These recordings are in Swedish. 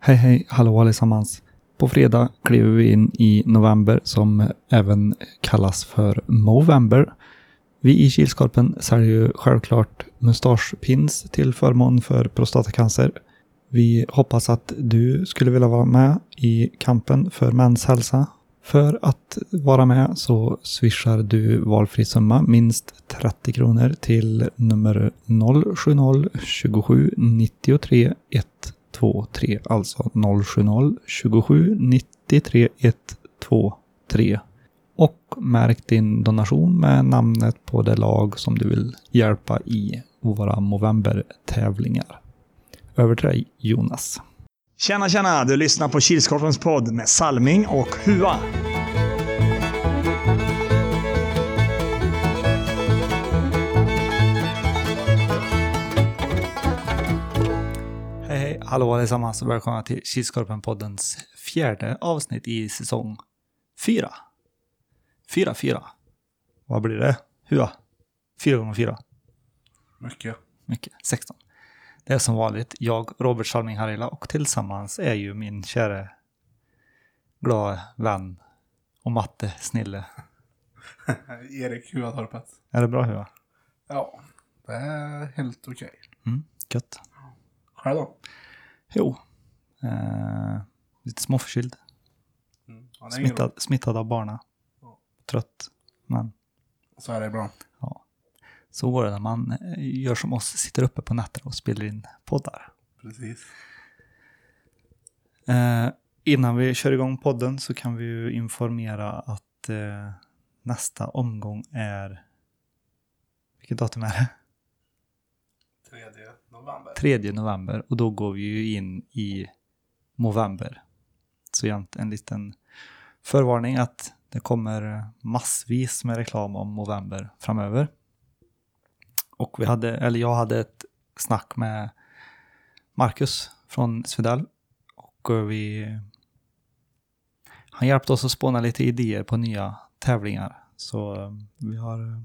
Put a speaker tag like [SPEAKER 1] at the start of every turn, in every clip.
[SPEAKER 1] Hej hej, hallå allesammans. På fredag kliver vi in i november som även kallas för Movember. Vi i Kilskorpen säljer ju självklart mustaschpins till förmån för prostatacancer. Vi hoppas att du skulle vilja vara med i kampen för mäns hälsa. För att vara med så swishar du valfri summa minst 30 kronor till nummer 070 27 93 123, alltså 070 27 93 123. Och märk din donation med namnet på det lag som du vill hjälpa i våra Movember-tävlingar. Över till dig Jonas.
[SPEAKER 2] Tjena, tjena! Du lyssnar på Kilskorpens podd med Salming och Hua.
[SPEAKER 1] Hej hej, hallå allesammans och välkomna till Kilskorpen-poddens fjärde avsnitt i säsong fyra. Fyra, fyra. Vad blir det? Hua? Fyra gånger fyra.
[SPEAKER 3] Mycket.
[SPEAKER 1] mycket. 16. Det är som vanligt jag, Robert Salming Harila och tillsammans är ju min käre glada vän och matte Snille.
[SPEAKER 3] Eh, Erik Huatorpet.
[SPEAKER 1] Är det bra Hua?
[SPEAKER 3] Ja, det är helt okej.
[SPEAKER 1] Mm, gött.
[SPEAKER 3] Själv då?
[SPEAKER 1] Jo. Eh, lite småförkyld.
[SPEAKER 3] Mm. Ja, det är ingen
[SPEAKER 1] Smittad, smittad av barna.
[SPEAKER 3] Ja.
[SPEAKER 1] Trött. Men
[SPEAKER 3] ro. Så är det bra.
[SPEAKER 1] så går det när man eh, gör som oss, sitter uppe på nätterna och spelar in poddar.
[SPEAKER 3] Precis.
[SPEAKER 1] Eh, innan vi kör igång podden så kan vi ju informera att eh, nästa omgång är... Vilket datum är det?
[SPEAKER 3] 3 november.
[SPEAKER 1] 3 november och då går vi ju in i november. Så jämt en liten förvarning att det kommer massvis med reklam om november framöver. Och vi hade, eller jag hade ett snack med Marcus från Svedell och eh, vi han hjälpte oss att spåna lite idéer på nya tävlingar. Så eh, vi har eh,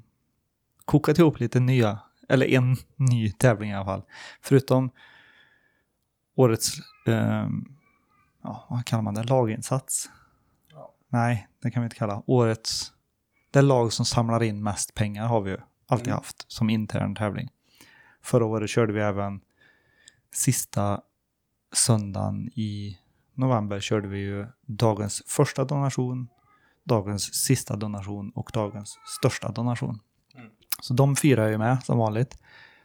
[SPEAKER 1] kokat ihop lite nya, eller en ny tävling i alla fall. Förutom årets, eh, ja, vad kallar man det, laginsats?
[SPEAKER 3] Ja.
[SPEAKER 1] Nej, det kan vi inte kalla. Årets, det lag som samlar in mest pengar har vi ju alltid
[SPEAKER 3] Mm.
[SPEAKER 1] haft som intern tävling. Förra året körde vi även sista söndagen i november körde vi ju dagens första donation, dagens sista donation och dagens största donation.
[SPEAKER 3] Mm.
[SPEAKER 1] Så de fyra är ju med som vanligt.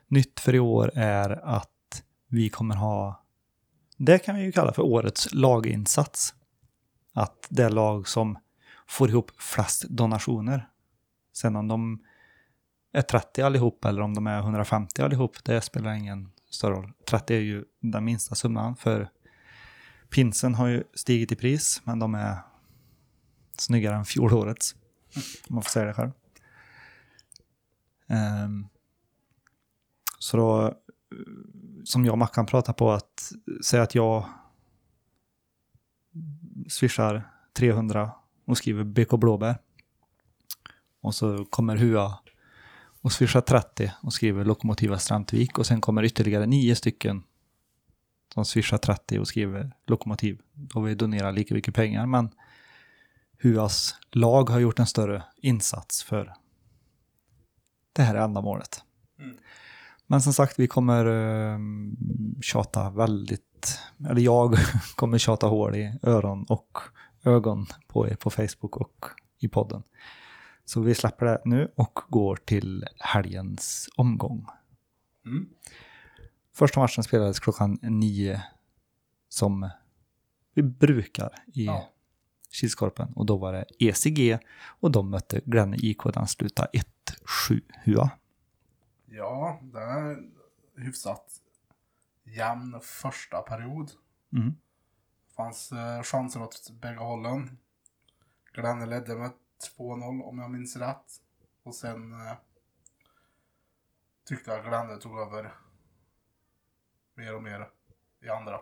[SPEAKER 1] Nytt för i år är att vi kommer ha, det kan vi ju kalla för årets laginsats. Att det lag som får ihop flest donationer. Sen om de är 30 allihop eller om de är 150 allihop, det spelar ingen större roll. 30 är ju den minsta summan för pinsen har ju stigit i pris, men de är snyggare än fjolårets. Om man får säga det själv. Ehm, så då, eh, som jag och Mackan pratar på, att säga att jag swishar 300 och skriver BK Blåbär. Och så kommer Hua och swishar 30 och skriver Lokomotiva Strantvik och sen kommer ytterligare nio stycken som swishar 30 och skriver Lokomotiv. Då vi donerar lika mycket pengar men Huas lag har gjort en större insats för det här ändamålet.
[SPEAKER 3] Mm.
[SPEAKER 1] Men som sagt, vi kommer eh, tjata väldigt, eller jag kommer tjata hål i öron och ögon på er på Facebook och i podden. Så vi släpper det nu och går till helgens omgång.
[SPEAKER 3] Mm.
[SPEAKER 1] Första matchen spelades klockan nio som vi brukar i
[SPEAKER 3] Ja.
[SPEAKER 1] Kilskorpen. Och då var det ECG och de mötte Glenn IK. Den slutade 1-7. Hua.
[SPEAKER 3] Ja, det är hyfsat jämn första period.
[SPEAKER 1] Mm.
[SPEAKER 3] fanns eh, chanser åt bägge hållen. Glenn ledde med 2-0 om jag minns rätt. Och sen eh, tyckte jag Glenn tog över mer och mer i andra.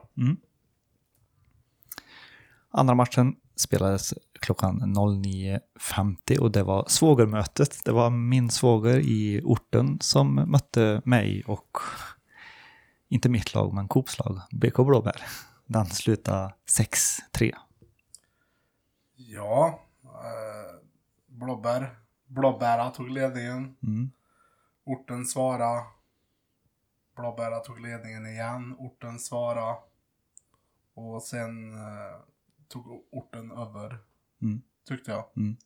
[SPEAKER 1] Andra matchen spelades klockan 09.50 och det var svågermötet. Det var min svåger i orten som mötte mig och inte mitt lag, men Coops lag, BK Blåbär. Den slutade 6-3.
[SPEAKER 3] Ja. Eh, blåbär. Blåbära tog ledningen.
[SPEAKER 1] Mm.
[SPEAKER 3] Orten svara. Blåbära tog ledningen igen. Orten svara. Och sen eh, tog orten över.
[SPEAKER 1] Mm.
[SPEAKER 3] Tyckte jag.
[SPEAKER 1] Mm.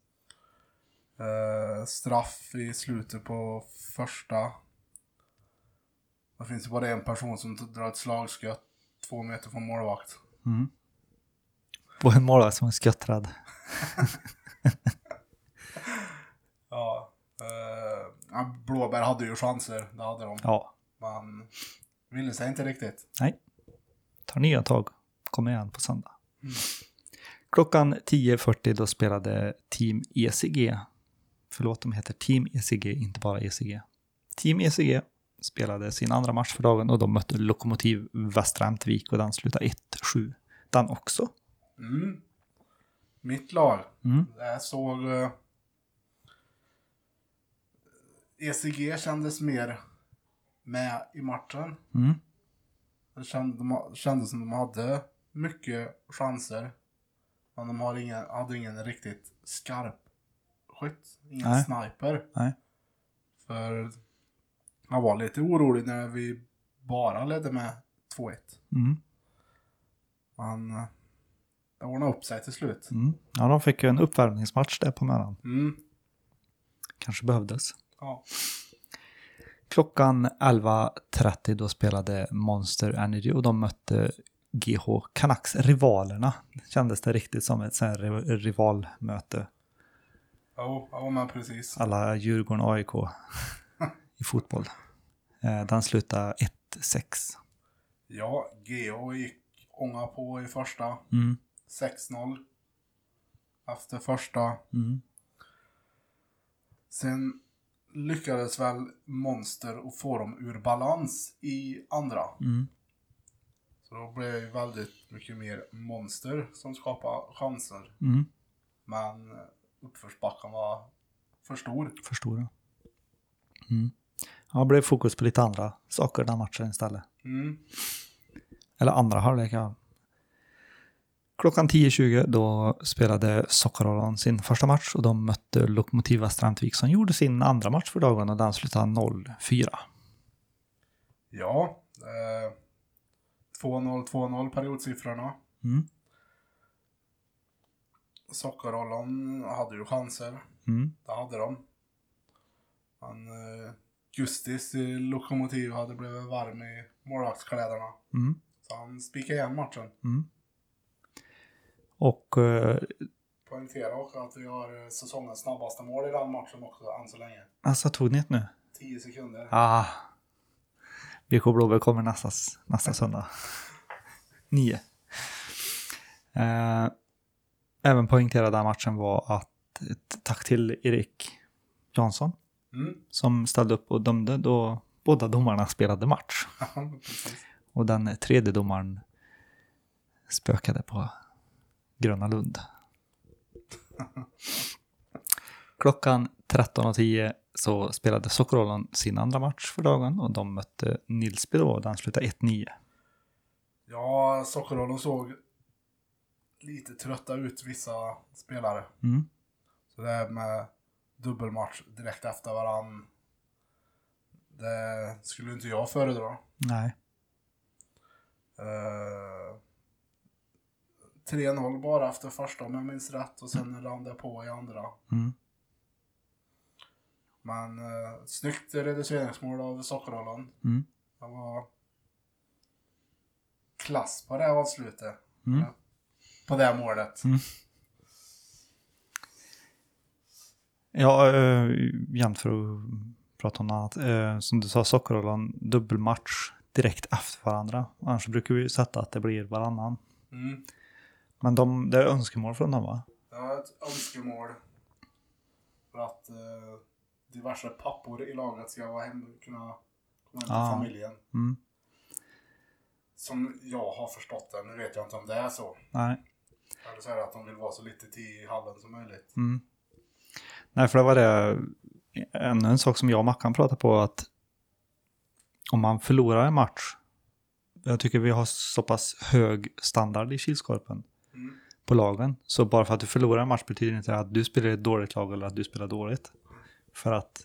[SPEAKER 3] Eh, straff i slutet på första. Det finns ju bara en person som t- drar ett slagskott två meter från målvakt.
[SPEAKER 1] Mm. På en målvakt som är sköttrad.
[SPEAKER 3] Ja. eh, ja, Blåbär hade ju chanser, det hade de.
[SPEAKER 1] Ja,
[SPEAKER 3] Men ville sig inte riktigt.
[SPEAKER 1] tar nya tag. Kommer igen på söndag. Klockan 10.40 då spelade Team ECG. Förlåt, de heter Team ECG, inte bara ECG. Team ECG spelade sin andra match för dagen och de mötte Lokomotiv Västra Ämtervik och den slutade 1-7. Den också.
[SPEAKER 3] Mm. Mitt lag.
[SPEAKER 1] Mm.
[SPEAKER 3] Jag såg... eh, ECG E kändes mer med i matchen.
[SPEAKER 1] Mm.
[SPEAKER 3] Det känd, de ha- kändes som de hade mycket chanser. Men de har ingen, hade ingen riktigt skarp skytt. Ingen
[SPEAKER 1] Nej.
[SPEAKER 3] sniper.
[SPEAKER 1] Nej.
[SPEAKER 3] För jag var lite orolig när vi bara ledde med 2-1.
[SPEAKER 1] Mm.
[SPEAKER 3] Men eh, det ordnade upp sig till slut.
[SPEAKER 1] Mm. Ja, de fick ju en uppvärmningsmatch där på morgonen.
[SPEAKER 3] Mm.
[SPEAKER 1] Kanske behövdes.
[SPEAKER 3] Ja.
[SPEAKER 1] Klockan 11.30 då spelade Monster Energy och de mötte GH Canucks, rivalerna. Kändes det riktigt som ett sånt här riv- rivalmöte.
[SPEAKER 3] Jo, ja, men precis.
[SPEAKER 1] Alla Djurgården AIK i fotboll. Eh, Den slutade 1-6.
[SPEAKER 3] Ja, Geo gick ånga på i första.
[SPEAKER 1] Mm.
[SPEAKER 3] 6-0. Efter första.
[SPEAKER 1] Mm.
[SPEAKER 3] Sen lyckades väl Monster att få dem ur balans i andra.
[SPEAKER 1] Mm.
[SPEAKER 3] Så då blev det ju väldigt mycket mer Monster som skapade chanser.
[SPEAKER 1] Mm.
[SPEAKER 3] Men eh, uppförsbacken var för stor.
[SPEAKER 1] Förstår jag. Mm. Ja, blev fokus på lite andra saker den matchen istället.
[SPEAKER 3] Mm.
[SPEAKER 1] Eller andra halvlek, ja. Klockan 10.20 då spelade Sockerollan sin första match och de mötte Lokomotiv Västra Antevik som gjorde sin andra match för dagen och den slutade 0-4.
[SPEAKER 3] Ja. Eh, 2-0, 2-0 periodsiffrorna.
[SPEAKER 1] Mm.
[SPEAKER 3] Sockerrollon hade ju chanser.
[SPEAKER 1] Mm.
[SPEAKER 3] Det hade de. Men eh, Gustis i Lokomotiv hade blivit varm i målvaktskläderna.
[SPEAKER 1] Mm.
[SPEAKER 3] Så han spikade igen matchen.
[SPEAKER 1] Mm. Och eh,
[SPEAKER 3] Poängtera också att vi har eh, säsongens snabbaste mål i den matchen också än så länge.
[SPEAKER 1] alltså tog ni ett nu?
[SPEAKER 3] 10 sekunder.
[SPEAKER 1] Ah. BK Blåberg kommer nästa, nästa söndag. Nio. Eh, även poängterade den matchen var att ett tack till Erik Jansson
[SPEAKER 3] Mm.
[SPEAKER 1] som ställde upp och dömde då båda domarna spelade match.
[SPEAKER 3] Precis.
[SPEAKER 1] Och den tredje domaren spökade på Gröna Lund. Klockan 13.10 så spelade Sockerollan sin andra match för dagen och de mötte Nilsby då och den slutade 1-9.
[SPEAKER 3] ja, Sockerrollon såg lite trötta ut vissa spelare.
[SPEAKER 1] Mm.
[SPEAKER 3] Så det här med dubbelmatch direkt efter varann. Det skulle inte jag föredra.
[SPEAKER 1] Nej.
[SPEAKER 3] Eh, 3-0 bara efter första om jag minns rätt och sen rann det på i andra.
[SPEAKER 1] Mm.
[SPEAKER 3] Men eh, snyggt reduceringsmål av Sockerholland.
[SPEAKER 1] Mm.
[SPEAKER 3] Det var klass på det här avslutet.
[SPEAKER 1] Mm.
[SPEAKER 3] På det här målet.
[SPEAKER 1] Ja, eh, jämt för att prata om något annat. Eh, som du sa, Sockerollan dubbelmatch direkt efter varandra. Annars brukar vi ju sätta att det blir varannan.
[SPEAKER 3] Mm.
[SPEAKER 1] Men de, det är önskemål från dem va?
[SPEAKER 3] Det var ett önskemål. För att eh, diverse pappor i laget ska vara hem, kunna komma hem till
[SPEAKER 1] Ah.
[SPEAKER 3] familjen.
[SPEAKER 1] Mm.
[SPEAKER 3] Som jag har förstått det. Nu vet jag inte om det är så.
[SPEAKER 1] Nej.
[SPEAKER 3] Eller så är det att de vill vara så lite tid i hallen som möjligt.
[SPEAKER 1] Mm. Nej, för det var det, ännu en sak som jag och Mackan pratade på, att om man förlorar en match jag tycker vi har så pass hög standard i Kilskorpen på lagen. Så bara för att du förlorar en match betyder inte att du spelar ett dåligt lag eller att du spelar dåligt. För att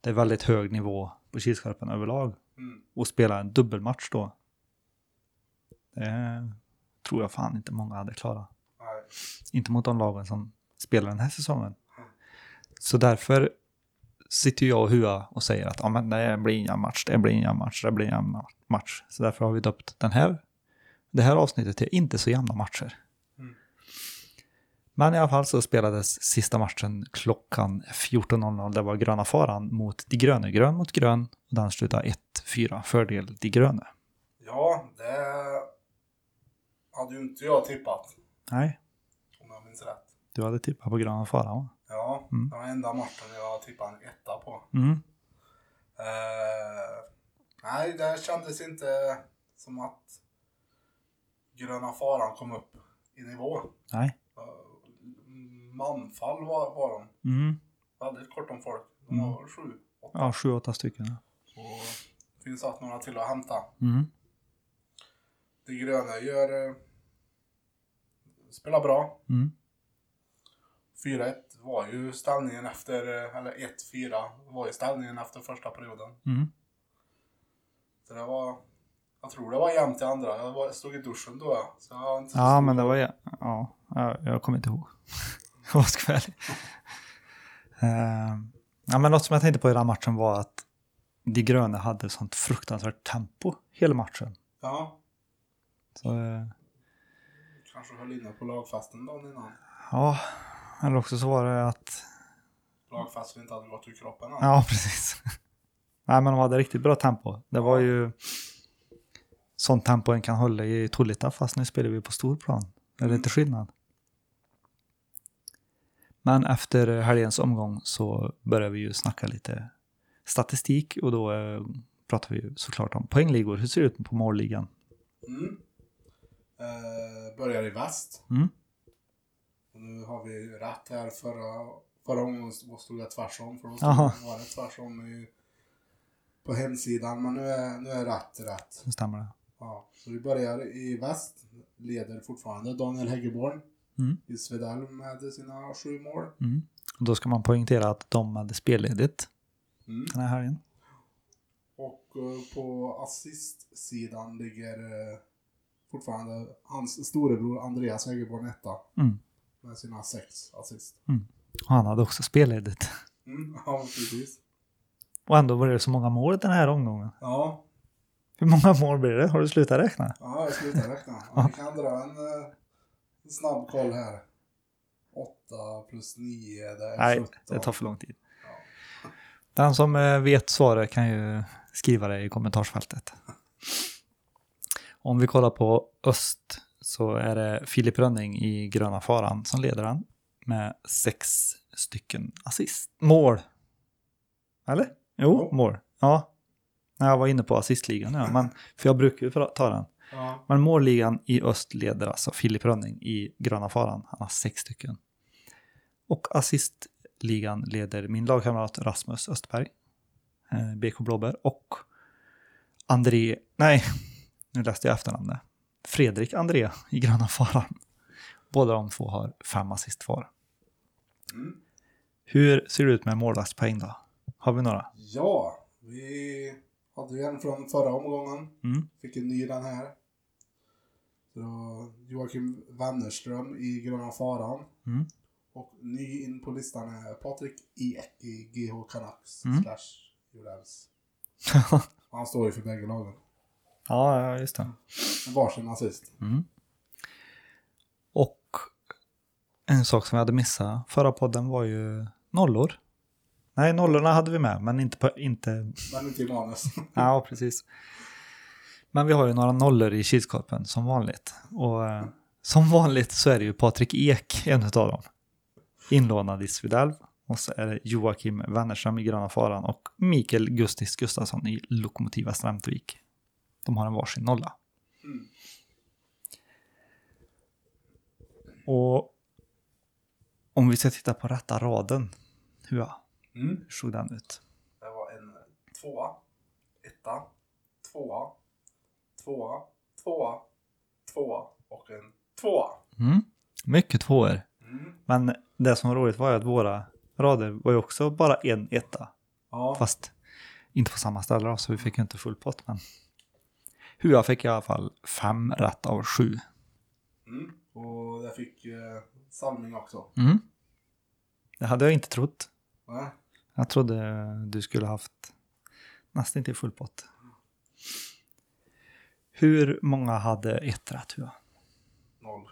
[SPEAKER 1] det är väldigt hög nivå på Kilskorpen överlag.
[SPEAKER 3] Mm.
[SPEAKER 1] Och spela en dubbelmatch då. Det tror jag fan inte många hade klarat.
[SPEAKER 3] Nej.
[SPEAKER 1] Inte mot de lagen som spelar den här säsongen. Så därför sitter jag och Hua och säger att ah, men det blir ingen match, det blir ingen match, det blir ingen ma- match. Så därför har vi döpt den här, det här avsnittet till Inte så jämna matcher.
[SPEAKER 3] Mm.
[SPEAKER 1] Men i alla fall så spelades sista matchen klockan 14.00. Det var Gröna Faran mot De Gröne. Grön mot Grön. Och den slutade 1-4. Fördel De Gröne.
[SPEAKER 3] Ja, det hade ju inte jag tippat.
[SPEAKER 1] Nej,
[SPEAKER 3] Om jag minns rätt.
[SPEAKER 1] du hade tippat på Gröna Faran va?
[SPEAKER 3] Ja,
[SPEAKER 1] Mm.
[SPEAKER 3] det var enda matchen jag tippade en etta på.
[SPEAKER 1] Mm.
[SPEAKER 3] Eh, nej, det kändes inte som att gröna faran kom upp i nivå.
[SPEAKER 1] Nej.
[SPEAKER 3] Eh, manfall var, var de.
[SPEAKER 1] Mm.
[SPEAKER 3] Väldigt kort om folk. De
[SPEAKER 1] Mm.
[SPEAKER 3] var sju. åtta.
[SPEAKER 1] Ja, sju, åtta stycken. ja.
[SPEAKER 3] Och det finns att några till att hämta.
[SPEAKER 1] Mm.
[SPEAKER 3] Det gröna gör... eh, spelar bra.
[SPEAKER 1] Mm.
[SPEAKER 3] 4-1 var ju ställningen efter, eh, eller 1-4 var ju ställningen efter första perioden.
[SPEAKER 1] Mm.
[SPEAKER 3] Så det var, jag tror det var jämnt i andra. Jag var, stod i duschen då. jag, Så jag har inte så
[SPEAKER 1] Ja,
[SPEAKER 3] stor-
[SPEAKER 1] men det var ju... Ja, jag, jag kommer inte ihåg. Jag var ska vara ärlig. Ehm, ja, men något som jag tänkte på i den här matchen var att de gröna hade sånt fruktansvärt tempo hela matchen.
[SPEAKER 3] Ja,
[SPEAKER 1] Så, eh,
[SPEAKER 3] kanske höll inne på lagfesten dagen innan.
[SPEAKER 1] ja, eller också så var det att...
[SPEAKER 3] Lagfesten inte hade gått ur kroppen än.
[SPEAKER 1] Ja, precis. Nej, men de hade riktigt bra tempo. Det var ju sånt tempo en kan hålla i Tolita, fast nu spelar vi på stor plan. Det är lite skillnad. Men efter helgens omgång så börjar vi ju snacka lite statistik och då eh, pratar vi ju såklart om poängligor. Hur ser det ut på målligan?
[SPEAKER 3] Mm. Eh, börjar i väst.
[SPEAKER 1] Mm.
[SPEAKER 3] Och nu har vi rätt här. Förra, förra gången stod jag tvärsom. För då stod,
[SPEAKER 1] Jaha.
[SPEAKER 3] var det tvärsom i, på hemsidan. Men nu är, nu är rätt rätt.
[SPEAKER 1] Så stämmer det.
[SPEAKER 3] Ja, så vi börjar i väst. Leder fortfarande Daniel Häggeborn
[SPEAKER 1] Mm.
[SPEAKER 3] i Svedell med sina sju mål.
[SPEAKER 1] Mm. Och då ska man poängtera att de hade spelledigt
[SPEAKER 3] Mm.
[SPEAKER 1] den här helgen.
[SPEAKER 3] Och eh, på assistsidan ligger eh, fortfarande hans storebror Andreas Hägerborn etta
[SPEAKER 1] Mm.
[SPEAKER 3] med sina sex assist.
[SPEAKER 1] Och han hade också spelledigt.
[SPEAKER 3] Mm, ja, precis.
[SPEAKER 1] Och ändå var det så många mål den här omgången.
[SPEAKER 3] Ja,
[SPEAKER 1] Hur många mål blir det? Har du slutat räkna?
[SPEAKER 3] ja jag slutar räkna. Ja, Vi kan dra en eh, snabb koll här. 8 plus 9, det är
[SPEAKER 1] Nej,
[SPEAKER 3] 17.
[SPEAKER 1] det tar för lång tid.
[SPEAKER 3] Alltså, Ja.
[SPEAKER 1] Den som eh, vet svaret kan ju skriva det i kommentarsfältet. Om vi kollar på öst så är det Filip Rönning i gröna faran som leder den med sex stycken assist. Mål! Eller? Jo,
[SPEAKER 3] Jo.
[SPEAKER 1] mål. Ja. Nej, Jag var inne på assistligan, ja, men, för jag brukar ju ta den.
[SPEAKER 3] Ja,
[SPEAKER 1] Men målligan i öst leder alltså Filip Rönning i gröna faran. Han har sex stycken. Och assistligan leder min lagkamrat Rasmus Östberg, eh, BK Blåbär och André, nej, nu läste jag efternamnet. Fredrik André i gröna faran. Båda de två har fem assist var.
[SPEAKER 3] Mm.
[SPEAKER 1] Hur ser det ut med målvaktspoäng då? Har vi några?
[SPEAKER 3] ja vi hade ju en från förra omgången.
[SPEAKER 1] Mm.
[SPEAKER 3] Fick en ny den här. Så det var Joakim Wennerström i Gröna Faran.
[SPEAKER 1] Mm.
[SPEAKER 3] Och ny in på listan är Patrik Ek i GH Canucks
[SPEAKER 1] Mm.
[SPEAKER 3] slash Jordals. Han står ju för bägge lagen.
[SPEAKER 1] ja, ja, just det.
[SPEAKER 3] Med varsin assist.
[SPEAKER 1] Mm. Och en sak som vi hade missat förra podden var ju nollor. Nej, nollorna hade vi med, men inte... På, inte
[SPEAKER 3] Men inte i manus.
[SPEAKER 1] ja, precis. Men vi har ju några nollor i Kilskorpen som vanligt. Och eh, som vanligt så är det ju Patrik Ek, en av dem. Inlånad i Svedalv. Och så är det Joakim Wennerström i Gröna Faran och Mikael Gustis Gustafsson i Lokomotiva Stramtvik. De har en varsin nolla.
[SPEAKER 3] Mm.
[SPEAKER 1] Och om vi ska titta på rätta raden, hur
[SPEAKER 3] Mm.
[SPEAKER 1] såg den ut?
[SPEAKER 3] Det var en tvåa, etta, tvåa, tvåa, tvåa, tvåa och en tvåa.
[SPEAKER 1] Mm. Mycket tvåor.
[SPEAKER 3] Mm.
[SPEAKER 1] Men det som var roligt var ju att våra rader var ju också bara en etta.
[SPEAKER 3] Ja.
[SPEAKER 1] Fast inte på samma ställe då, så vi fick ju inte full pott. Men Hua fick i alla fall fem rätt av sju.
[SPEAKER 3] Mm. Och där fick eh, Salming också.
[SPEAKER 1] Mm. Det hade jag inte trott.
[SPEAKER 3] Nej.
[SPEAKER 1] Jag trodde du skulle haft nästan inte full pott. Hur många hade ett rätt Hua?
[SPEAKER 3] Noll.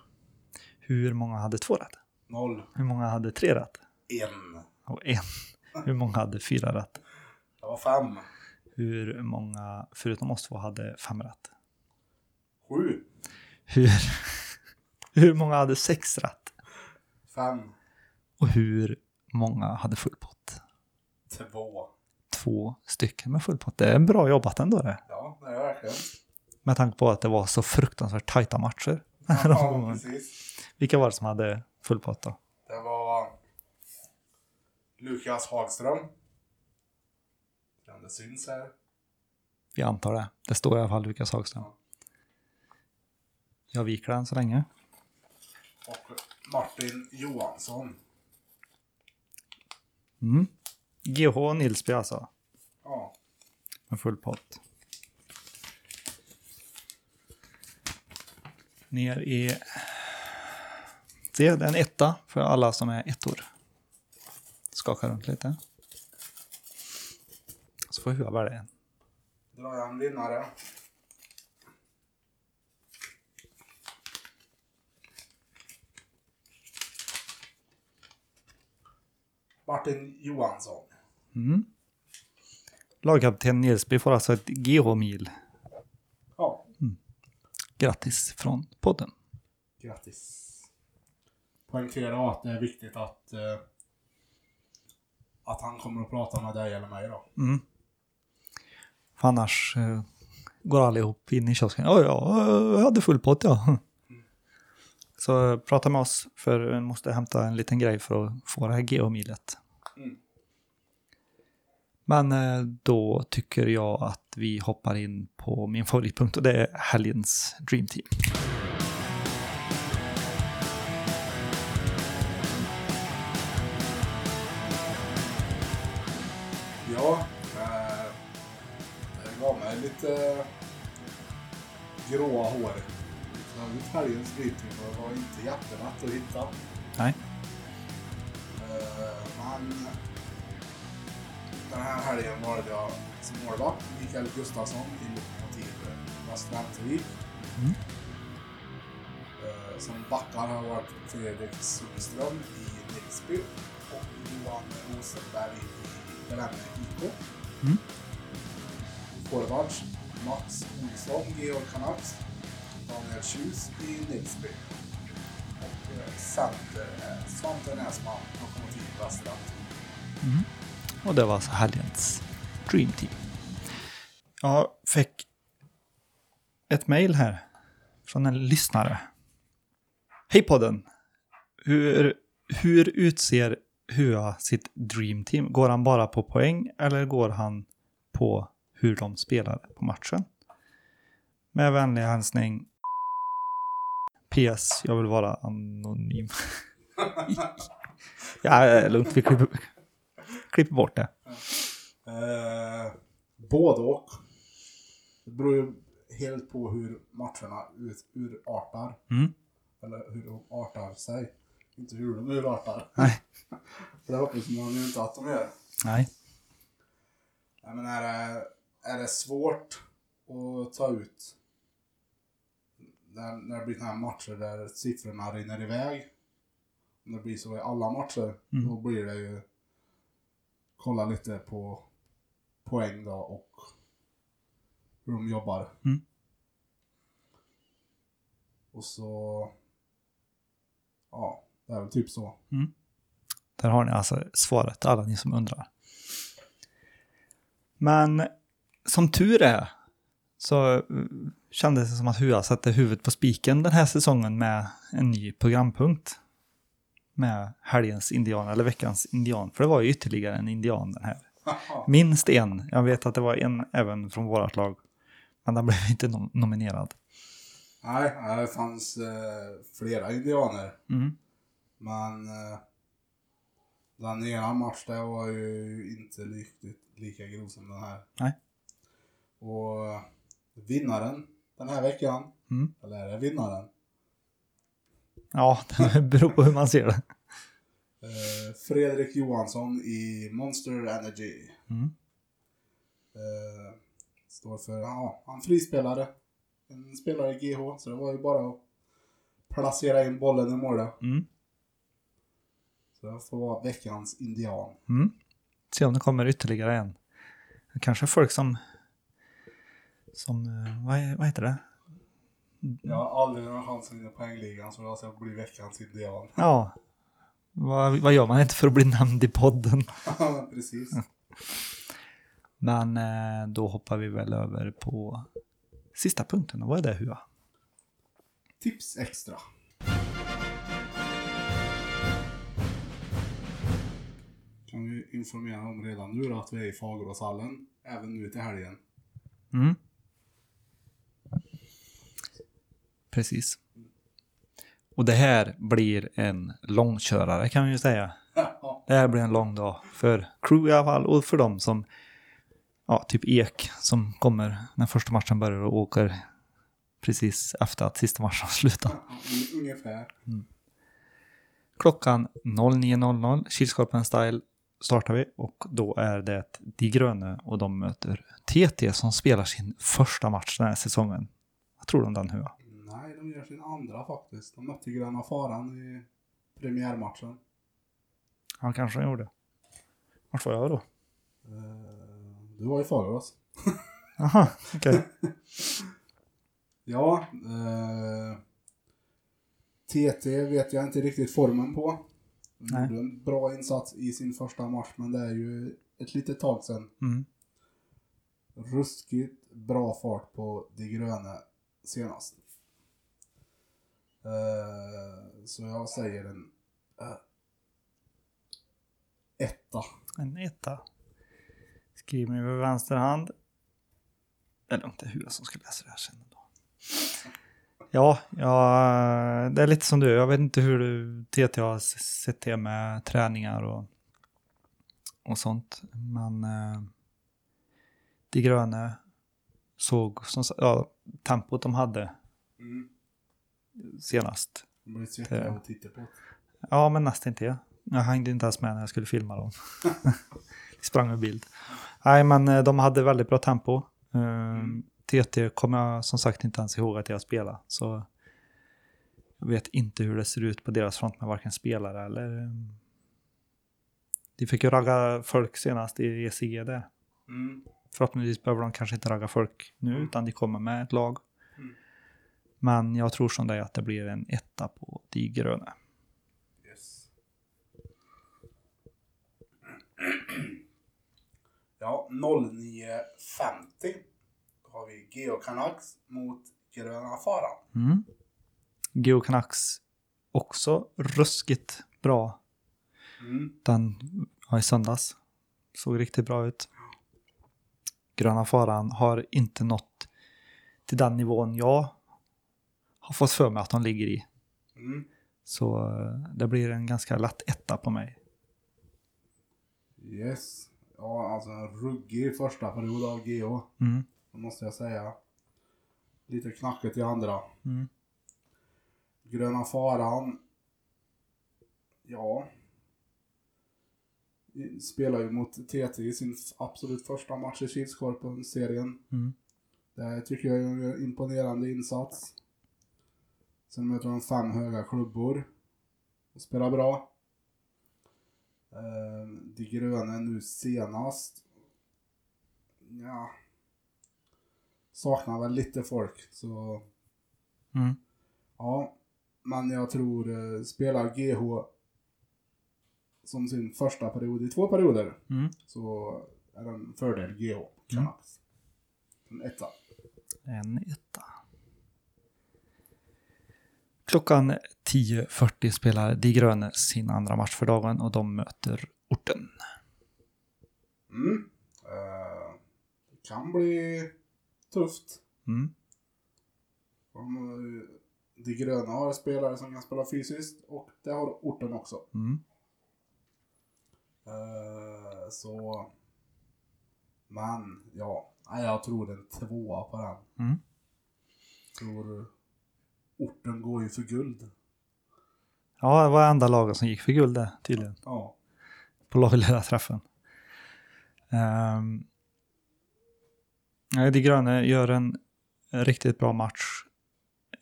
[SPEAKER 1] Hur många hade två rätt?
[SPEAKER 3] Noll.
[SPEAKER 1] Hur många hade tre rätt?
[SPEAKER 3] En.
[SPEAKER 1] Och en. Hur många hade fyra rätt?
[SPEAKER 3] Det var fem.
[SPEAKER 1] Hur många, förutom oss två, hade fem rätt?
[SPEAKER 3] Sju.
[SPEAKER 1] Hur, hur många hade sex rätt?
[SPEAKER 3] Fem.
[SPEAKER 1] Och hur många hade full pott?
[SPEAKER 3] Två.
[SPEAKER 1] Två stycken med full pott. Det är bra jobbat ändå det.
[SPEAKER 3] Ja, det är det verkligen.
[SPEAKER 1] Med tanke på att det var så fruktansvärt tajta matcher.
[SPEAKER 3] Ja, precis.
[SPEAKER 1] Vilka var det som hade full pott då?
[SPEAKER 3] Det var Lukas Hagström. Om det syns här.
[SPEAKER 1] Vi antar det. Det står i alla fall Lukas Hagström. Jag viker den så länge.
[SPEAKER 3] Och Martin Johansson.
[SPEAKER 1] Mm. GH Nilsby alltså.
[SPEAKER 3] Ja.
[SPEAKER 1] Med full pott. Ner i... Se, det är en etta för alla som är ettor. Skaka runt lite. Så får Hua välja en.
[SPEAKER 3] Drar jag en vinnare. Martin Johansson.
[SPEAKER 1] Mm. Lagkapten Nilsby får alltså ett GH-mil.
[SPEAKER 3] Ja,
[SPEAKER 1] Grattis från podden.
[SPEAKER 3] grattis. Poängtera att det är viktigt att, eh, att han kommer att prata med dig eller mig då.
[SPEAKER 1] Mm. För annars eh, går allihop in i kiosken. Ja, ja, eh, jag hade full pott ja. Så eh, prata med oss för jag måste hämta en liten grej för att få det här geomilet.
[SPEAKER 3] Mm.
[SPEAKER 1] Men eh, då tycker jag att vi hoppar in på min favoritpunkt och det är helgens Dream Team.
[SPEAKER 3] Ja, eh, det gav mig lite eh, gråa hår. Det var ju helgens brytning och det var inte jättelätt att hitta.
[SPEAKER 1] Nej.
[SPEAKER 3] Eh, men den här helgen valde jag som målvakt Mikael Gustafsson i Lokomotiv Västra Ämtervik.
[SPEAKER 1] Mm.
[SPEAKER 3] Eh, som backar har varit Fredrik Sundström i Nilsby och Johan Rosenberg i Bränne IK.
[SPEAKER 1] Mm.
[SPEAKER 3] Forwards Mats Olsson, Georg Canucks, Daniel Tjus i Nilsby. Och eh, center är Svante Näsman, Lokomotiv Västra.
[SPEAKER 1] Och det var alltså helgens Dream Team. Jag fick ett mejl här från en lyssnare. Hej podden! Hur, hur utser Hua sitt Dream Team? Går han bara på poäng eller går han på hur de spelar på matchen? Med vänlig hälsning PS, jag vill vara anonym. ja, det är lugnt. Vi klipper, klipper bort det.
[SPEAKER 3] Eh, både och. Det beror ju helt på hur matcherna ut, urartar.
[SPEAKER 1] Mm.
[SPEAKER 3] Eller hur de artar sig. Inte hur de urartar.
[SPEAKER 1] Nej.
[SPEAKER 3] För det hoppas man ju inte att de gör.
[SPEAKER 1] Nej.
[SPEAKER 3] Nej, men är, det, eh, är det svårt att ta ut när, när det blir sådana här matcher där siffrorna rinner iväg? Om det blir så i alla matcher,
[SPEAKER 1] Mm.
[SPEAKER 3] då blir det ju kolla lite på poäng då och hur de jobbar.
[SPEAKER 1] Mm.
[SPEAKER 3] Och så, ja, det är väl typ så.
[SPEAKER 1] Där har ni alltså svaret, alla ni som undrar. Men som tur är så eh, kändes det som att Hua satte huvudet på spiken den här säsongen med en ny programpunkt. Med helgens indian, eller veckans indian. För det var ju ytterligare en indian den här. Minst en. Jag vet att det var en även från vårt lag. Men den blev inte nom- nominerad.
[SPEAKER 3] Nej, nej, det fanns eh, flera indianer.
[SPEAKER 1] Mm.
[SPEAKER 3] Men eh, den ena matchen där var ju inte riktigt lika grov som den här.
[SPEAKER 1] Nej.
[SPEAKER 3] Och eh, vinnaren den här veckan,
[SPEAKER 1] Mm.
[SPEAKER 3] eller är det vinnaren?
[SPEAKER 1] Ja, det beror på hur man ser det.
[SPEAKER 3] Eh, Fredrik Johansson i Monster Energy.
[SPEAKER 1] Mm.
[SPEAKER 3] Eh, står för, ja, han frispelade. En spelare i GH, så det var ju bara att placera in bollen i målet.
[SPEAKER 1] Mm.
[SPEAKER 3] Så det får vara veckans indian.
[SPEAKER 1] Mm. Se om det kommer ytterligare en. Kanske folk som... Som... eh, Vad, är- vad heter det?
[SPEAKER 3] Jag har aldrig någon chans att vinna poängligan så jag ska bli veckans indian.
[SPEAKER 1] Ja. Vad, vad gör man inte för att bli nämnd i podden?
[SPEAKER 3] Ja, men precis.
[SPEAKER 1] Men eh, då hoppar vi väl över på sista punkten. Och Vad är det Hua?
[SPEAKER 3] Tips extra. Kan vi informera om redan nu då att vi är i Fageråshallen även nu till helgen.
[SPEAKER 1] Mm. Precis. Och det här blir en långkörare kan vi ju säga.
[SPEAKER 3] Ja,
[SPEAKER 1] Det här blir en lång dag för crew i alla fall och för dem som, ja, typ Ek som kommer när första matchen börjar och åker precis efter att sista matchen har slutat.
[SPEAKER 3] ungefär.
[SPEAKER 1] Klockan 09.00, Kilskorpen Style, startar vi och då är det De Gröne och de möter TT som spelar sin första match den här säsongen. Vad tror du om den Hua?
[SPEAKER 3] Nej, de gör sin andra faktiskt. De mötte Gröna Faran i premiärmatchen.
[SPEAKER 1] Han kanske gjorde. Vart var jag då?
[SPEAKER 3] Eh, Du var i Fagerås.
[SPEAKER 1] Aha, okej.
[SPEAKER 3] Ja, eh, TT vet jag inte riktigt formen på. De
[SPEAKER 1] Nej.
[SPEAKER 3] gjorde en bra insats i sin första match, men det är ju ett litet tag sedan.
[SPEAKER 1] Mm.
[SPEAKER 3] Ruskigt bra fart på De gröna senast. Eh, så jag säger en eh, etta.
[SPEAKER 1] En etta. Skriver med vänster hand. Eller om det är Hua som ska läsa det här sen. Då. Ja, ja, det är lite som du. Jag vet inte hur du, TT har s- sett det med träningar och, och sånt. Men eh, De gröna såg som, sa- ja, tempot de hade
[SPEAKER 3] Mm.
[SPEAKER 1] senast.
[SPEAKER 3] Jag blir svettig av att titta på.
[SPEAKER 1] Ja, men nästan inte. Jag hängde inte ens med när jag skulle filma dem. Vi sprang med bild. Nej, men eh, de hade väldigt bra tempo. Ehm, TT kommer jag som sagt inte ens ihåg att jag spelade. Så jag vet inte hur det ser ut på deras front med varken spelare eller... ehm, De fick ju ragga folk senast i ECG där.
[SPEAKER 3] Mm.
[SPEAKER 1] Förhoppningsvis behöver de kanske inte ragga folk nu, utan de kommer med ett lag.
[SPEAKER 3] Mm.
[SPEAKER 1] Men jag tror som dig att det blir en etta på de gröna.
[SPEAKER 3] Yes. Ja, 09.50 Då har vi Geo Canucks mot Gröna Faran.
[SPEAKER 1] Mm. Geo Canucks också ruskigt bra.
[SPEAKER 3] Mm.
[SPEAKER 1] Den ja, i söndags såg riktigt bra ut. Gröna Faran har inte nått till den nivån jag har fått för mig att de ligger i.
[SPEAKER 3] Mm.
[SPEAKER 1] Så eh, det blir en ganska lätt etta på mig.
[SPEAKER 3] Yes. Ja, alltså en ruggig första period av Geo.
[SPEAKER 1] Mm.
[SPEAKER 3] Det måste jag säga. Lite knackigt i andra.
[SPEAKER 1] Mm.
[SPEAKER 3] Gröna Faran. Ja. Spelar ju mot TT i sin absolut första match i Kilskorpen-serien.
[SPEAKER 1] Mm.
[SPEAKER 3] Det tycker jag är en imponerande insats. Sen möter de fem höga klubbor. Och spelar bra. Eh, De gröna nu senast. Ja. Saknar väl lite folk, så
[SPEAKER 1] Mm.
[SPEAKER 3] ja. Men jag tror eh, spelar GH som sin första period i två perioder
[SPEAKER 1] Mm.
[SPEAKER 3] så är det en fördel GH. Canucks. En etta.
[SPEAKER 1] En etta. Klockan 10.40 spelar De Gröne sin andra match för dagen och de möter orten.
[SPEAKER 3] Mm. Eh, det kan bli tufft.
[SPEAKER 1] Mm.
[SPEAKER 3] De, har ju- de gröna har spelare som kan spela fysiskt och det har orten också.
[SPEAKER 1] Mm.
[SPEAKER 3] Eh, så... Men, ja. Nej, jag tror en tvåa på den.
[SPEAKER 1] Mm.
[SPEAKER 3] Tror... Orten går ju för guld.
[SPEAKER 1] Ja, det var enda laget som gick för guld det, tydligen.
[SPEAKER 3] Ja.
[SPEAKER 1] På lagledarträffen. Um, de gröna gör en riktigt bra match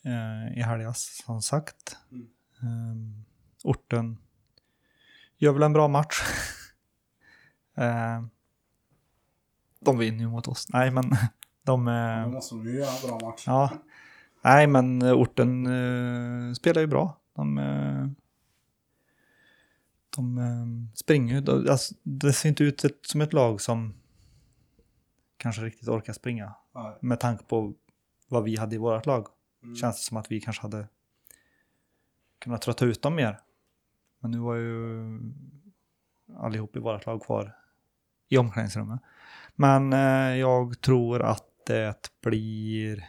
[SPEAKER 1] eh, i helgas, som sagt.
[SPEAKER 3] Mm.
[SPEAKER 1] Ehm, orten gör väl en bra match. Ehm, de vinner ju mot oss. Nej, men de... eh,
[SPEAKER 3] Då måste de ju göra en bra match.
[SPEAKER 1] Ja. Nej, men eh, orten eh, spelar ju bra. De, eh, de eh, springer ju. De- Alltså, det ser inte ut ett- som ett lag som kanske riktigt orkar springa.
[SPEAKER 3] Nej.
[SPEAKER 1] Med tanke på vad vi hade i vårt lag.
[SPEAKER 3] Mm.
[SPEAKER 1] Känns det som att vi kanske hade kunnat trötta ut dem mer. Men nu var ju allihop i vårt lag kvar i omklädningsrummet. Men eh, jag tror att det blir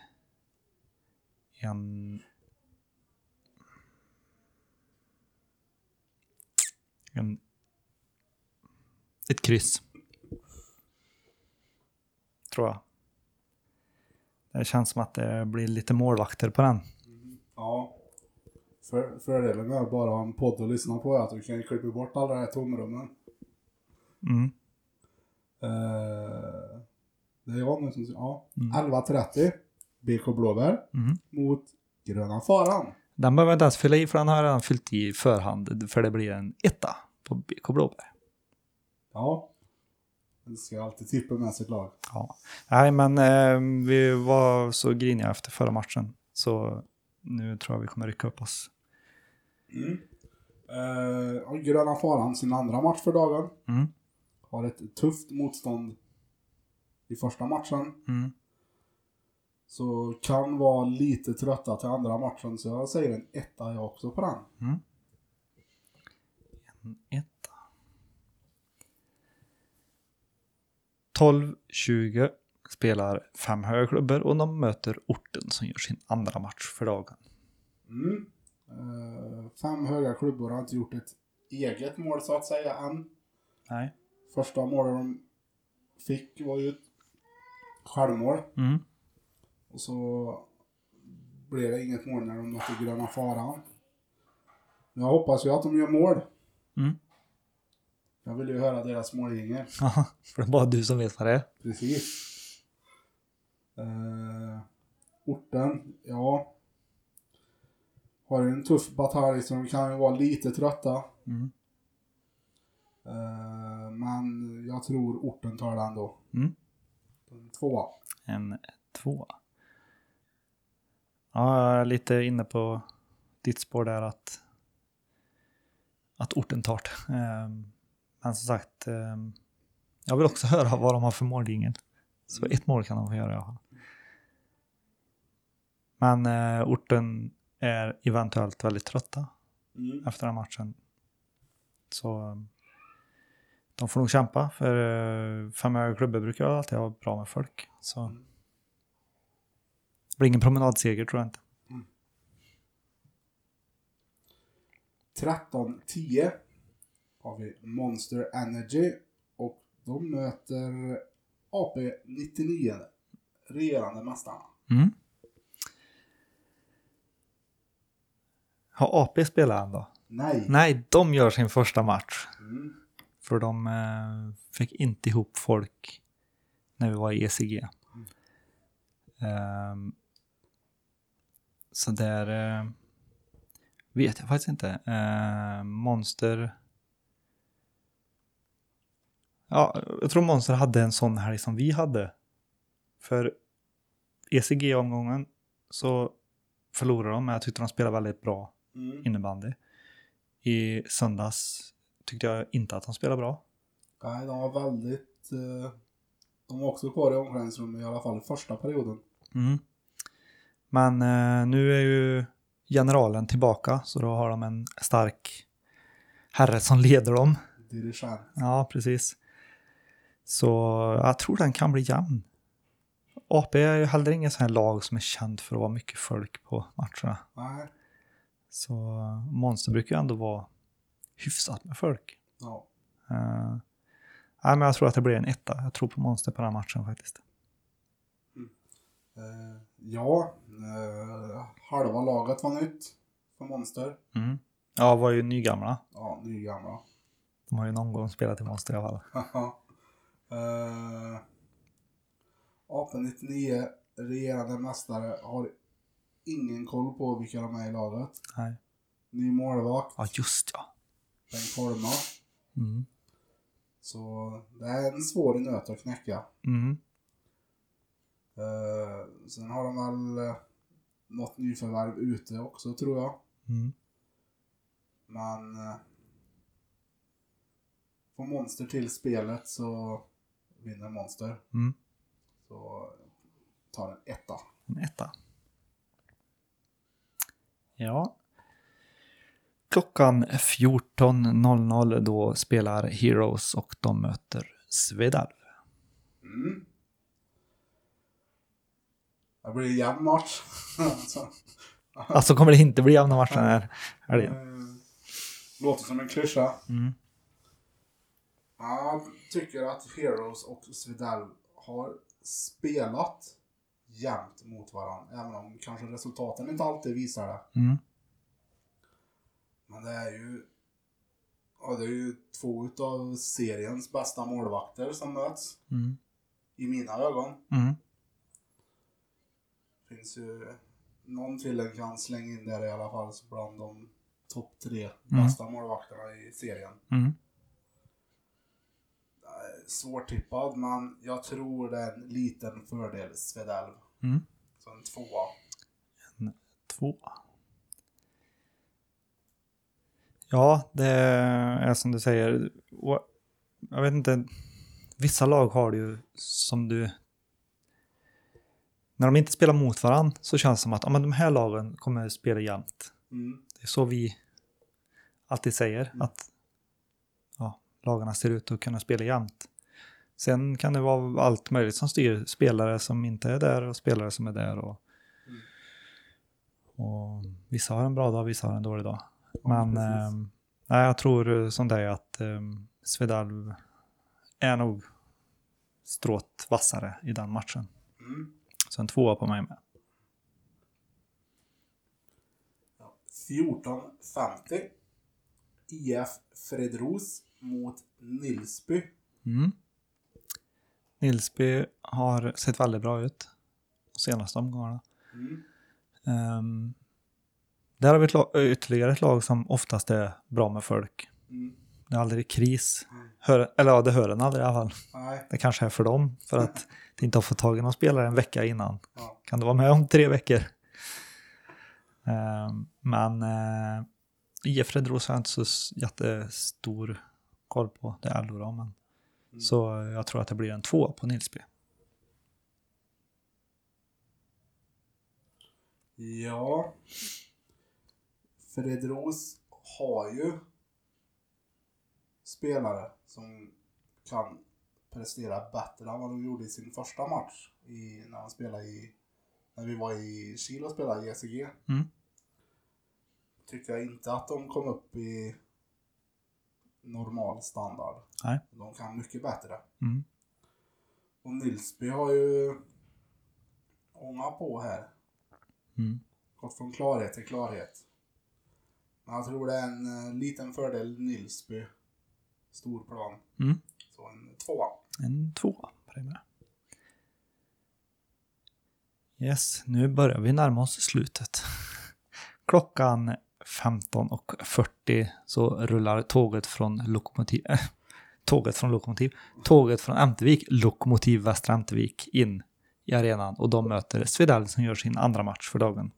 [SPEAKER 1] en... en ett kryss. Tror jag. Det känns som att det blir lite målvakter på den.
[SPEAKER 3] Ja. För, fördelen med att bara ha en podd att lyssna på är att du kan ju klippa bort alla de här tomrummen.
[SPEAKER 1] Mm.
[SPEAKER 3] Eh, det är jag nu som... Ja.
[SPEAKER 1] Mm.
[SPEAKER 3] 11.30. BK Blåbär
[SPEAKER 1] Mm.
[SPEAKER 3] mot Gröna Faran.
[SPEAKER 1] Den behöver jag inte ens fylla i för den har jag redan fyllt i förhand. För det blir en etta på BK Blåbär.
[SPEAKER 3] Ja. Man ska alltid tippa med sitt lag.
[SPEAKER 1] Ja. Nej, men eh, vi var så griniga efter förra matchen. Så nu tror jag vi kommer rycka upp oss.
[SPEAKER 3] Eh, och Gröna Faran, sin andra match för dagen,
[SPEAKER 1] Mm.
[SPEAKER 3] har ett tufft motstånd i första matchen.
[SPEAKER 1] Mm.
[SPEAKER 3] Så kan vara lite trötta till andra matchen, så jag säger en etta jag också på den.
[SPEAKER 1] En etta. 12-20 spelar fem högerklubbor och de möter orten som gör sin andra match för dagen.
[SPEAKER 3] Mm. Eh, fem höga klubbor har inte gjort ett eget mål så att säga än.
[SPEAKER 1] Nej.
[SPEAKER 3] Första målet de fick var ju ett självmål.
[SPEAKER 1] Mm.
[SPEAKER 3] Och så blev det inget mål när de mötte Gröna Faran. Men jag hoppas ju att de gör mål.
[SPEAKER 1] Mm.
[SPEAKER 3] Jag vill ju höra deras målgänger.
[SPEAKER 1] Jaha, för det är bara du som vet vad det är.
[SPEAKER 3] Precis. Eh, orten, ja. Har ju en tuff batalj så de kan ju vara lite trötta.
[SPEAKER 1] Mm.
[SPEAKER 3] Eh, men jag tror orten tar den då.
[SPEAKER 1] Mm.
[SPEAKER 3] Tvåa.
[SPEAKER 1] En två. Ja, jag är lite inne på ditt spår där att, att orten tar det. Ehm, Men som sagt, ehm, jag vill också höra vad de har för målgingel. Så ett mål kan de få göra i alla fall. Men eh, orten är eventuellt väldigt trötta
[SPEAKER 3] Mm.
[SPEAKER 1] efter den här matchen. Så eh, de får nog kämpa, för eh, fem höga klubbor brukar alltid ha bra med folk. Så
[SPEAKER 3] Mm.
[SPEAKER 1] det blir ingen promenadseger tror jag inte.
[SPEAKER 3] 13-10 har vi Monster Energy och de möter AP-99, regerande mästarna.
[SPEAKER 1] Mm. Har AP spelat än då?
[SPEAKER 3] Nej.
[SPEAKER 1] Nej, de gör sin första match.
[SPEAKER 3] Mm.
[SPEAKER 1] För de eh, fick inte ihop folk när vi var i ECG. Ehm, så där eh, vet jag faktiskt inte. Eh, Monster... Ja, jag tror Monster hade en sån helg som vi hade. För ECG-omgången så förlorade de, men jag tyckte de spelade väldigt bra
[SPEAKER 3] Mm.
[SPEAKER 1] innebandy. I söndags tyckte jag inte att han spelade bra.
[SPEAKER 3] Nej, de var väldigt... eh, de var också kvar i omklädningsrummet i alla fall i första perioden.
[SPEAKER 1] Men eh, nu är ju generalen tillbaka så då har de en stark herre som leder dem.
[SPEAKER 3] Dirigent.
[SPEAKER 1] Ja, precis. Så jag tror den kan bli jämn. AP är ju heller ingen sån här lag som är känd för att vara mycket folk på matcherna.
[SPEAKER 3] Nej.
[SPEAKER 1] Så Monster brukar ju ändå vara hyfsat med folk.
[SPEAKER 3] Ja.
[SPEAKER 1] Eh, nej, men jag tror att det blir en etta. Jag tror på Monster på den här matchen faktiskt.
[SPEAKER 3] Eh, ja. Eh, halva laget var nytt för Monster.
[SPEAKER 1] Mm. Ja, var ju nygamla.
[SPEAKER 3] Ja, nygamla.
[SPEAKER 1] De har ju någon gång spelat i Monster i alla fall.
[SPEAKER 3] uh, AP-99, regerande mästare, har ingen koll på vilka de är i laget.
[SPEAKER 1] Nej.
[SPEAKER 3] Ny målvakt,
[SPEAKER 1] Ja, just ja.
[SPEAKER 3] Bengt Holma.
[SPEAKER 1] Mm.
[SPEAKER 3] Så det är en svår nöt att knäcka.
[SPEAKER 1] Mm.
[SPEAKER 3] Uh, sen har de väl eh, något nyförvärv ute också tror jag.
[SPEAKER 1] Mm.
[SPEAKER 3] Men eh, får Monster till spelet så vinner Monster.
[SPEAKER 1] Mm.
[SPEAKER 3] Så tar en etta.
[SPEAKER 1] En etta. Ja. Klockan 14.00 då spelar Heroes och de möter Svedalv.
[SPEAKER 3] Mm. Det blir en jämn match. Alltså,
[SPEAKER 1] Alltså kommer det inte bli jämna matcher den här helgen.
[SPEAKER 3] eh, Låter som en klyscha.
[SPEAKER 1] Mm.
[SPEAKER 3] Jag tycker att Heroes och Svedell har spelat jämnt mot varandra. Även om kanske resultaten inte alltid visar det.
[SPEAKER 1] Mm.
[SPEAKER 3] Men det är ju... Ja, det är ju två utav seriens bästa målvakter som möts.
[SPEAKER 1] Mm.
[SPEAKER 3] I mina ögon.
[SPEAKER 1] Mm.
[SPEAKER 3] Finns ju... Någon killen kan slänga in där i alla fall så bland de topp tre
[SPEAKER 1] Mm.
[SPEAKER 3] bästa målvakterna i serien.
[SPEAKER 1] Mm.
[SPEAKER 3] Svårtippad, men jag tror det är en liten fördel Svedell.
[SPEAKER 1] Mm.
[SPEAKER 3] Så en tvåa.
[SPEAKER 1] Två. Ja, det är som du säger. Och Jag vet inte. Vissa lag har det ju som du... När de inte spelar mot varandra så känns det som att ja, men de här lagen kommer spela jämnt.
[SPEAKER 3] Mm.
[SPEAKER 1] Det är så vi alltid säger att ja, lagarna ser ut att kunna spela jämnt. Sen kan det vara allt möjligt som styr. Spelare som inte är där och spelare som är där. Och,
[SPEAKER 3] Mm.
[SPEAKER 1] och vissa har en bra dag, vissa har en dålig dag.
[SPEAKER 3] Ja,
[SPEAKER 1] Men
[SPEAKER 3] precis.
[SPEAKER 1] ehm, nej, jag tror eh, som dig att um, Svedalv är nog strået vassare i den matchen.
[SPEAKER 3] Mm.
[SPEAKER 1] Så en tvåa på mig med.
[SPEAKER 3] 14.50. IF Fredros mot Nilsby.
[SPEAKER 1] Mm. Nilsby har sett väldigt bra ut de senaste omgångarna.
[SPEAKER 3] Mm.
[SPEAKER 1] Ehm, där har vi ett lag, ytterligare ett lag som oftast är bra med folk.
[SPEAKER 3] Mm.
[SPEAKER 1] Det är aldrig kris.
[SPEAKER 3] Mm.
[SPEAKER 1] Hör, eller ja, det hör en aldrig i alla fall.
[SPEAKER 3] Nej.
[SPEAKER 1] Det kanske är för dem, för att de inte har fått tag i någon spelare en vecka innan.
[SPEAKER 3] Ja.
[SPEAKER 1] Kan du vara med om tre veckor? Ehm, men uh, IF Redros har jag inte så s- jättestor koll på. Det är LO då, men.
[SPEAKER 3] Mm.
[SPEAKER 1] Så eh, jag tror att det blir en två på Nilsby.
[SPEAKER 3] Ja. Fredros har ju spelare som kan prestera bättre än vad de gjorde i sin första match. I, när, de spelade i, när vi var i Chile och spelade i ECG.
[SPEAKER 1] Mm.
[SPEAKER 3] Tycker jag inte att de kom upp i normal standard.
[SPEAKER 1] Nej.
[SPEAKER 3] De kan mycket bättre.
[SPEAKER 1] Mm.
[SPEAKER 3] Och Nilsby har ju ångat på här.
[SPEAKER 1] Mm.
[SPEAKER 3] Gått från klarhet till klarhet. Men jag tror det är en eh, liten fördel Nilsby. Stor plan.
[SPEAKER 1] Mm.
[SPEAKER 3] Så en tvåa.
[SPEAKER 1] En två på det med. Yes, nu börjar vi närma oss slutet. Klockan 15.40 så rullar tåget från Lokomotiv... Äh, tåget från Lokomotiv? Tåget från Ämtervik, Lokomotiv Västra Ämtervik, in i arenan och de möter Svedell som gör sin andra match för dagen.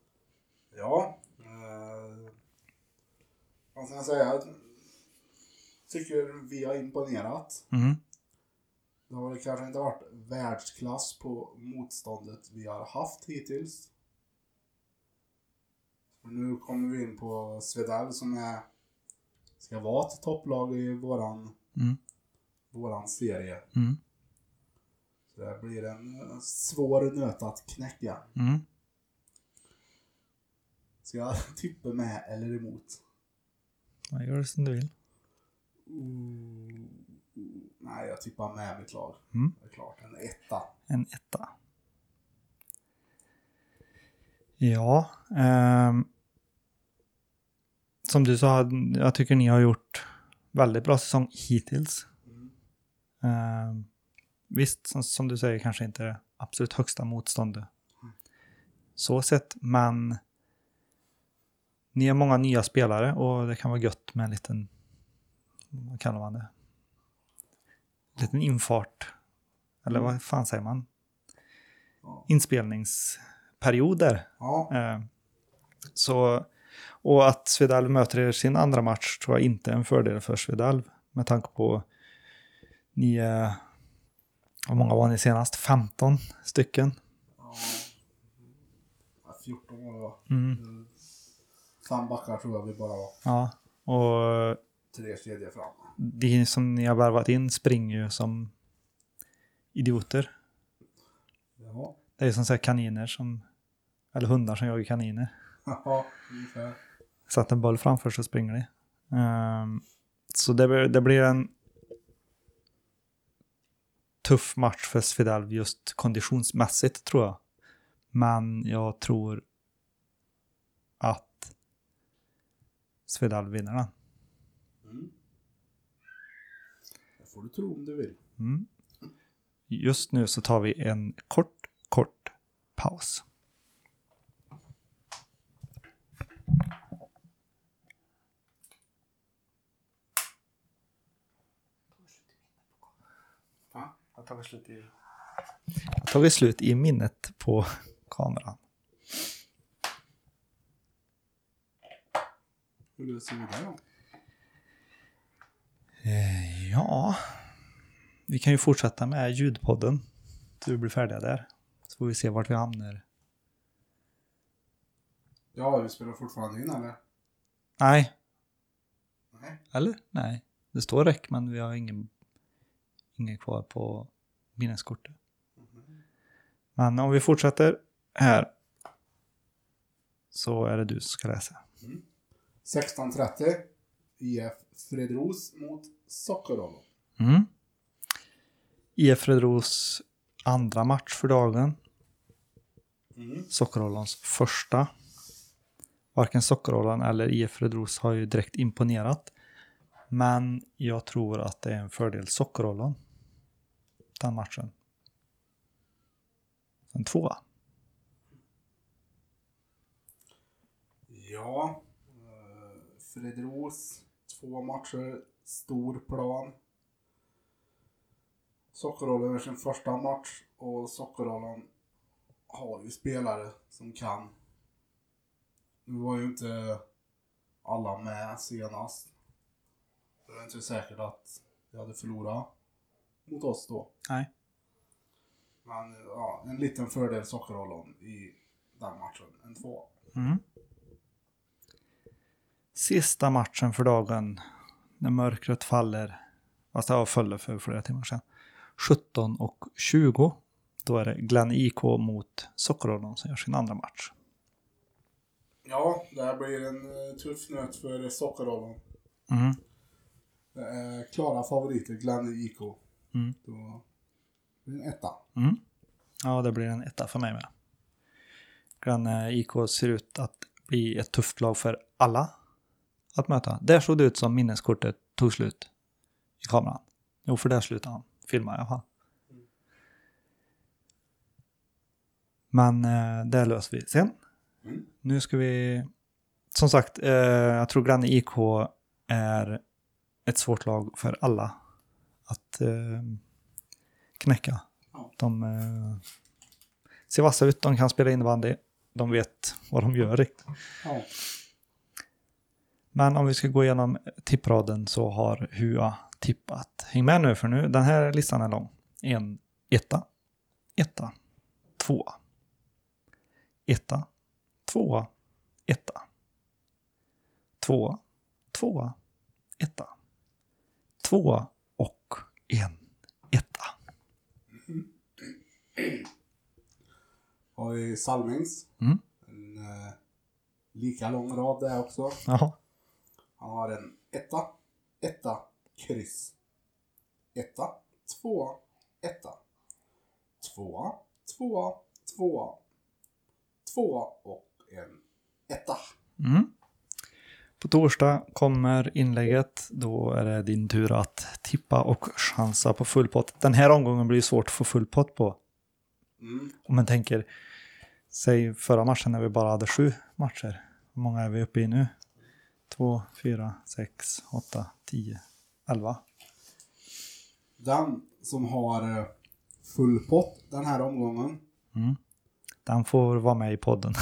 [SPEAKER 3] Ja. Eh, vad ska jag säga? Jag tycker vi har imponerat.
[SPEAKER 1] Mm.
[SPEAKER 3] Det har väl kanske inte varit världsklass på motståndet vi har haft hittills. Och nu kommer vi in på Svedell som är, ska vara ett topplag i våran,
[SPEAKER 1] Mm.
[SPEAKER 3] våran serie.
[SPEAKER 1] Mm.
[SPEAKER 3] Så det här blir en eh, svår nöt att knäcka.
[SPEAKER 1] Mm.
[SPEAKER 3] Ska jag tippa med eller emot?
[SPEAKER 1] Ja, gör det som du vill.
[SPEAKER 3] Mm. Nej, jag tippar med mitt lag.
[SPEAKER 1] Mm.
[SPEAKER 3] Det är klart, en etta.
[SPEAKER 1] En etta. Ja. ehm, som du sa, jag tycker ni har gjort väldigt bra säsong hittills. Ehm, visst, som, som du säger, kanske inte det absolut högsta motståndet. Så sett, men ni har många nya spelare och det kan vara gött med en liten, vad kallar man det? Liten infart. Eller vad fan säger man?
[SPEAKER 3] Mm. Ja.
[SPEAKER 1] Inspelningsperioder.
[SPEAKER 3] Ja,
[SPEAKER 1] Eh, så, och att Svedalv möter er sin andra match tror jag inte är en fördel för Svedalv. Med tanke på ni, eh, hur många var ni senast? 15 stycken.
[SPEAKER 3] ja, 14 år då.
[SPEAKER 1] Mm.
[SPEAKER 3] Mm. Fem backar tror jag vi bara var.
[SPEAKER 1] Ja. Och
[SPEAKER 3] Tre kedjor fram.
[SPEAKER 1] de som ni har värvat in springer ju som idioter.
[SPEAKER 3] Jaha.
[SPEAKER 1] Det är ju som så här kaniner som, eller hundar som jagar kaniner.
[SPEAKER 3] Ja, ungefär.
[SPEAKER 1] Sätt en boll framför så springer de. Ehm, så det, blir- det blir en tuff match för Svedalv just konditionsmässigt tror jag. Men jag tror att Svedalv vinner den.
[SPEAKER 3] Mm. Det får du tro om du vill.
[SPEAKER 1] Mm. Just nu så tar vi en kort, kort paus.
[SPEAKER 3] Va?
[SPEAKER 1] Jag tar slut i... Jag tar slut i minnet på kameran.
[SPEAKER 3] Hur löser vi det då?
[SPEAKER 1] Eh, Ja, vi kan ju fortsätta med ljudpodden. Så vi blir färdiga där. Så får vi se vart vi hamnar.
[SPEAKER 3] Ja, vi spelar fortfarande in eller?
[SPEAKER 1] Nej,
[SPEAKER 3] Nej.
[SPEAKER 1] eller? Nej. Det står räck, men vi har ingen, ingen kvar på minneskortet. Men om vi fortsätter här så är det du som ska läsa.
[SPEAKER 3] 16.30. IF Fredros mot Sockerholm.
[SPEAKER 1] Mm. IF Rödros andra match för dagen.
[SPEAKER 3] Mm.
[SPEAKER 1] Sockerholms första. Varken Sockerholm eller IF Rödros har ju direkt imponerat. Men jag tror att det är en fördel Sockerholm. Den matchen. En tvåa.
[SPEAKER 3] Ja. eh, Fredros. Två matcher. Stor plan. Sockerholm är sin första match och Sockerholm har ju spelare som kan. Nu var ju inte alla med senast. Det är inte säkert att vi hade förlorat mot oss då.
[SPEAKER 1] Nej.
[SPEAKER 3] Men ja, en liten fördel Sockerholm i den matchen. En två.
[SPEAKER 1] Mm. Sista matchen för dagen. När mörkret faller. Fast det har fallit för flera timmar sedan. 17 och 20. Då är det Glenn IK mot Sockerholm som gör sin andra match.
[SPEAKER 3] Ja, det här blir en eh, tuff nöt för Sockerholm.
[SPEAKER 1] Mm.
[SPEAKER 3] Det är klara favoriter, Glenn IK.
[SPEAKER 1] Mm.
[SPEAKER 3] Då blir det en etta.
[SPEAKER 1] Mm. Ja, det blir en etta för mig med. Glenn eh, IK ser ut att bli ett tufft lag för alla att möta. Där såg det ut som minneskortet tog slut i kameran. Jo, för där slutade han filma i alla fall. Men eh, det löser vi sen.
[SPEAKER 3] Mm.
[SPEAKER 1] Nu ska vi... Som sagt, eh, jag tror Glenn IK är ett svårt lag för alla att eh, knäcka.
[SPEAKER 3] Ja.
[SPEAKER 1] De eh, ser vassa ut, de kan spela innebandy, de vet vad de gör riktigt.
[SPEAKER 3] Ja.
[SPEAKER 1] Men om vi ska gå igenom tippraden så har Hua tippat. Häng med nu för nu, den här listan är lång. En etta, etta, tvåa, etta, tvåa, etta, tvåa, tvåa, etta, tvåa och en etta.
[SPEAKER 3] Har vi Salmings.
[SPEAKER 1] Mm.
[SPEAKER 3] En eh, lika lång rad där också.
[SPEAKER 1] Jaha.
[SPEAKER 3] Han har en etta, etta, kryss. Etta, tvåa, etta. Tvåa, tvåa, tvåa. Tvåa och en etta.
[SPEAKER 1] Mm. På torsdag kommer inlägget. Då är det din tur att tippa och chansa på full pott. Den här omgången blir ju svårt att få full pott på.
[SPEAKER 3] Mm.
[SPEAKER 1] Om man tänker, säg förra matchen när vi bara hade sju matcher. Hur många är vi uppe i nu? Två, fyra, sex, åtta, tio, elva.
[SPEAKER 3] Den som har eh, full pott den här omgången
[SPEAKER 1] Den får vara med i podden.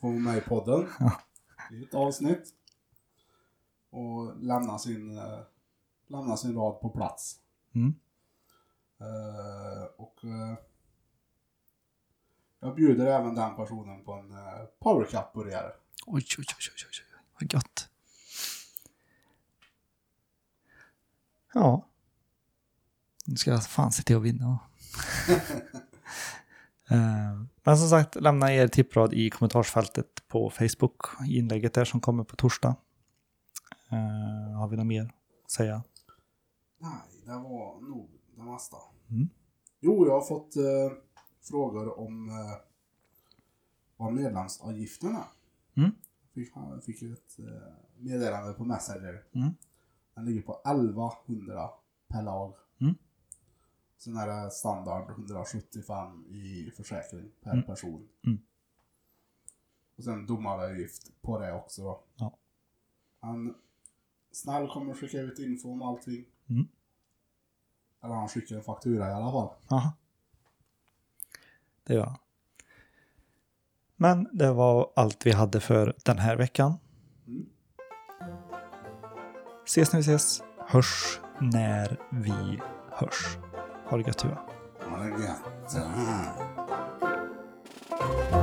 [SPEAKER 3] får vara med i podden. Det är ett avsnitt. Och lämna sin, eh, lämna sin rad på plats.
[SPEAKER 1] Mm.
[SPEAKER 3] Eh, och eh, jag bjuder även den personen på en eh, power cup burgare
[SPEAKER 1] Oj, oj, oj, oj, oj, oj, vad gött. Ja. Nu ska jag fan se till att vinna. Eh, Men som sagt, lämna er tipprad i kommentarsfältet på Facebook i inlägget där som kommer på torsdag. Eh, har vi något mer att säga?
[SPEAKER 3] Nej, det var nog det mesta.
[SPEAKER 1] Mm.
[SPEAKER 3] Jo, jag har fått eh, frågor om eh, vad medlemsavgiften är.
[SPEAKER 1] Mm.
[SPEAKER 3] Fick, jag fick ett eh, meddelande på Messenger.
[SPEAKER 1] Mm.
[SPEAKER 3] Den ligger på 1100 per lag.
[SPEAKER 1] Mm.
[SPEAKER 3] Sen är det standard 175 i försäkring per
[SPEAKER 1] Mm.
[SPEAKER 3] person.
[SPEAKER 1] Mm.
[SPEAKER 3] Och sen domaravgift på det också. då.
[SPEAKER 1] Ja.
[SPEAKER 3] Han snäll kommer skicka ut info om allting.
[SPEAKER 1] Mm.
[SPEAKER 3] Eller han skickar en faktura i alla fall.
[SPEAKER 1] Aha. Det gör han. Men det var allt vi hade för den här veckan.
[SPEAKER 3] Mm.
[SPEAKER 1] Ses när vi ses. Hörs när vi hörs. Ha det gött Tuva.
[SPEAKER 3] Ha det gött.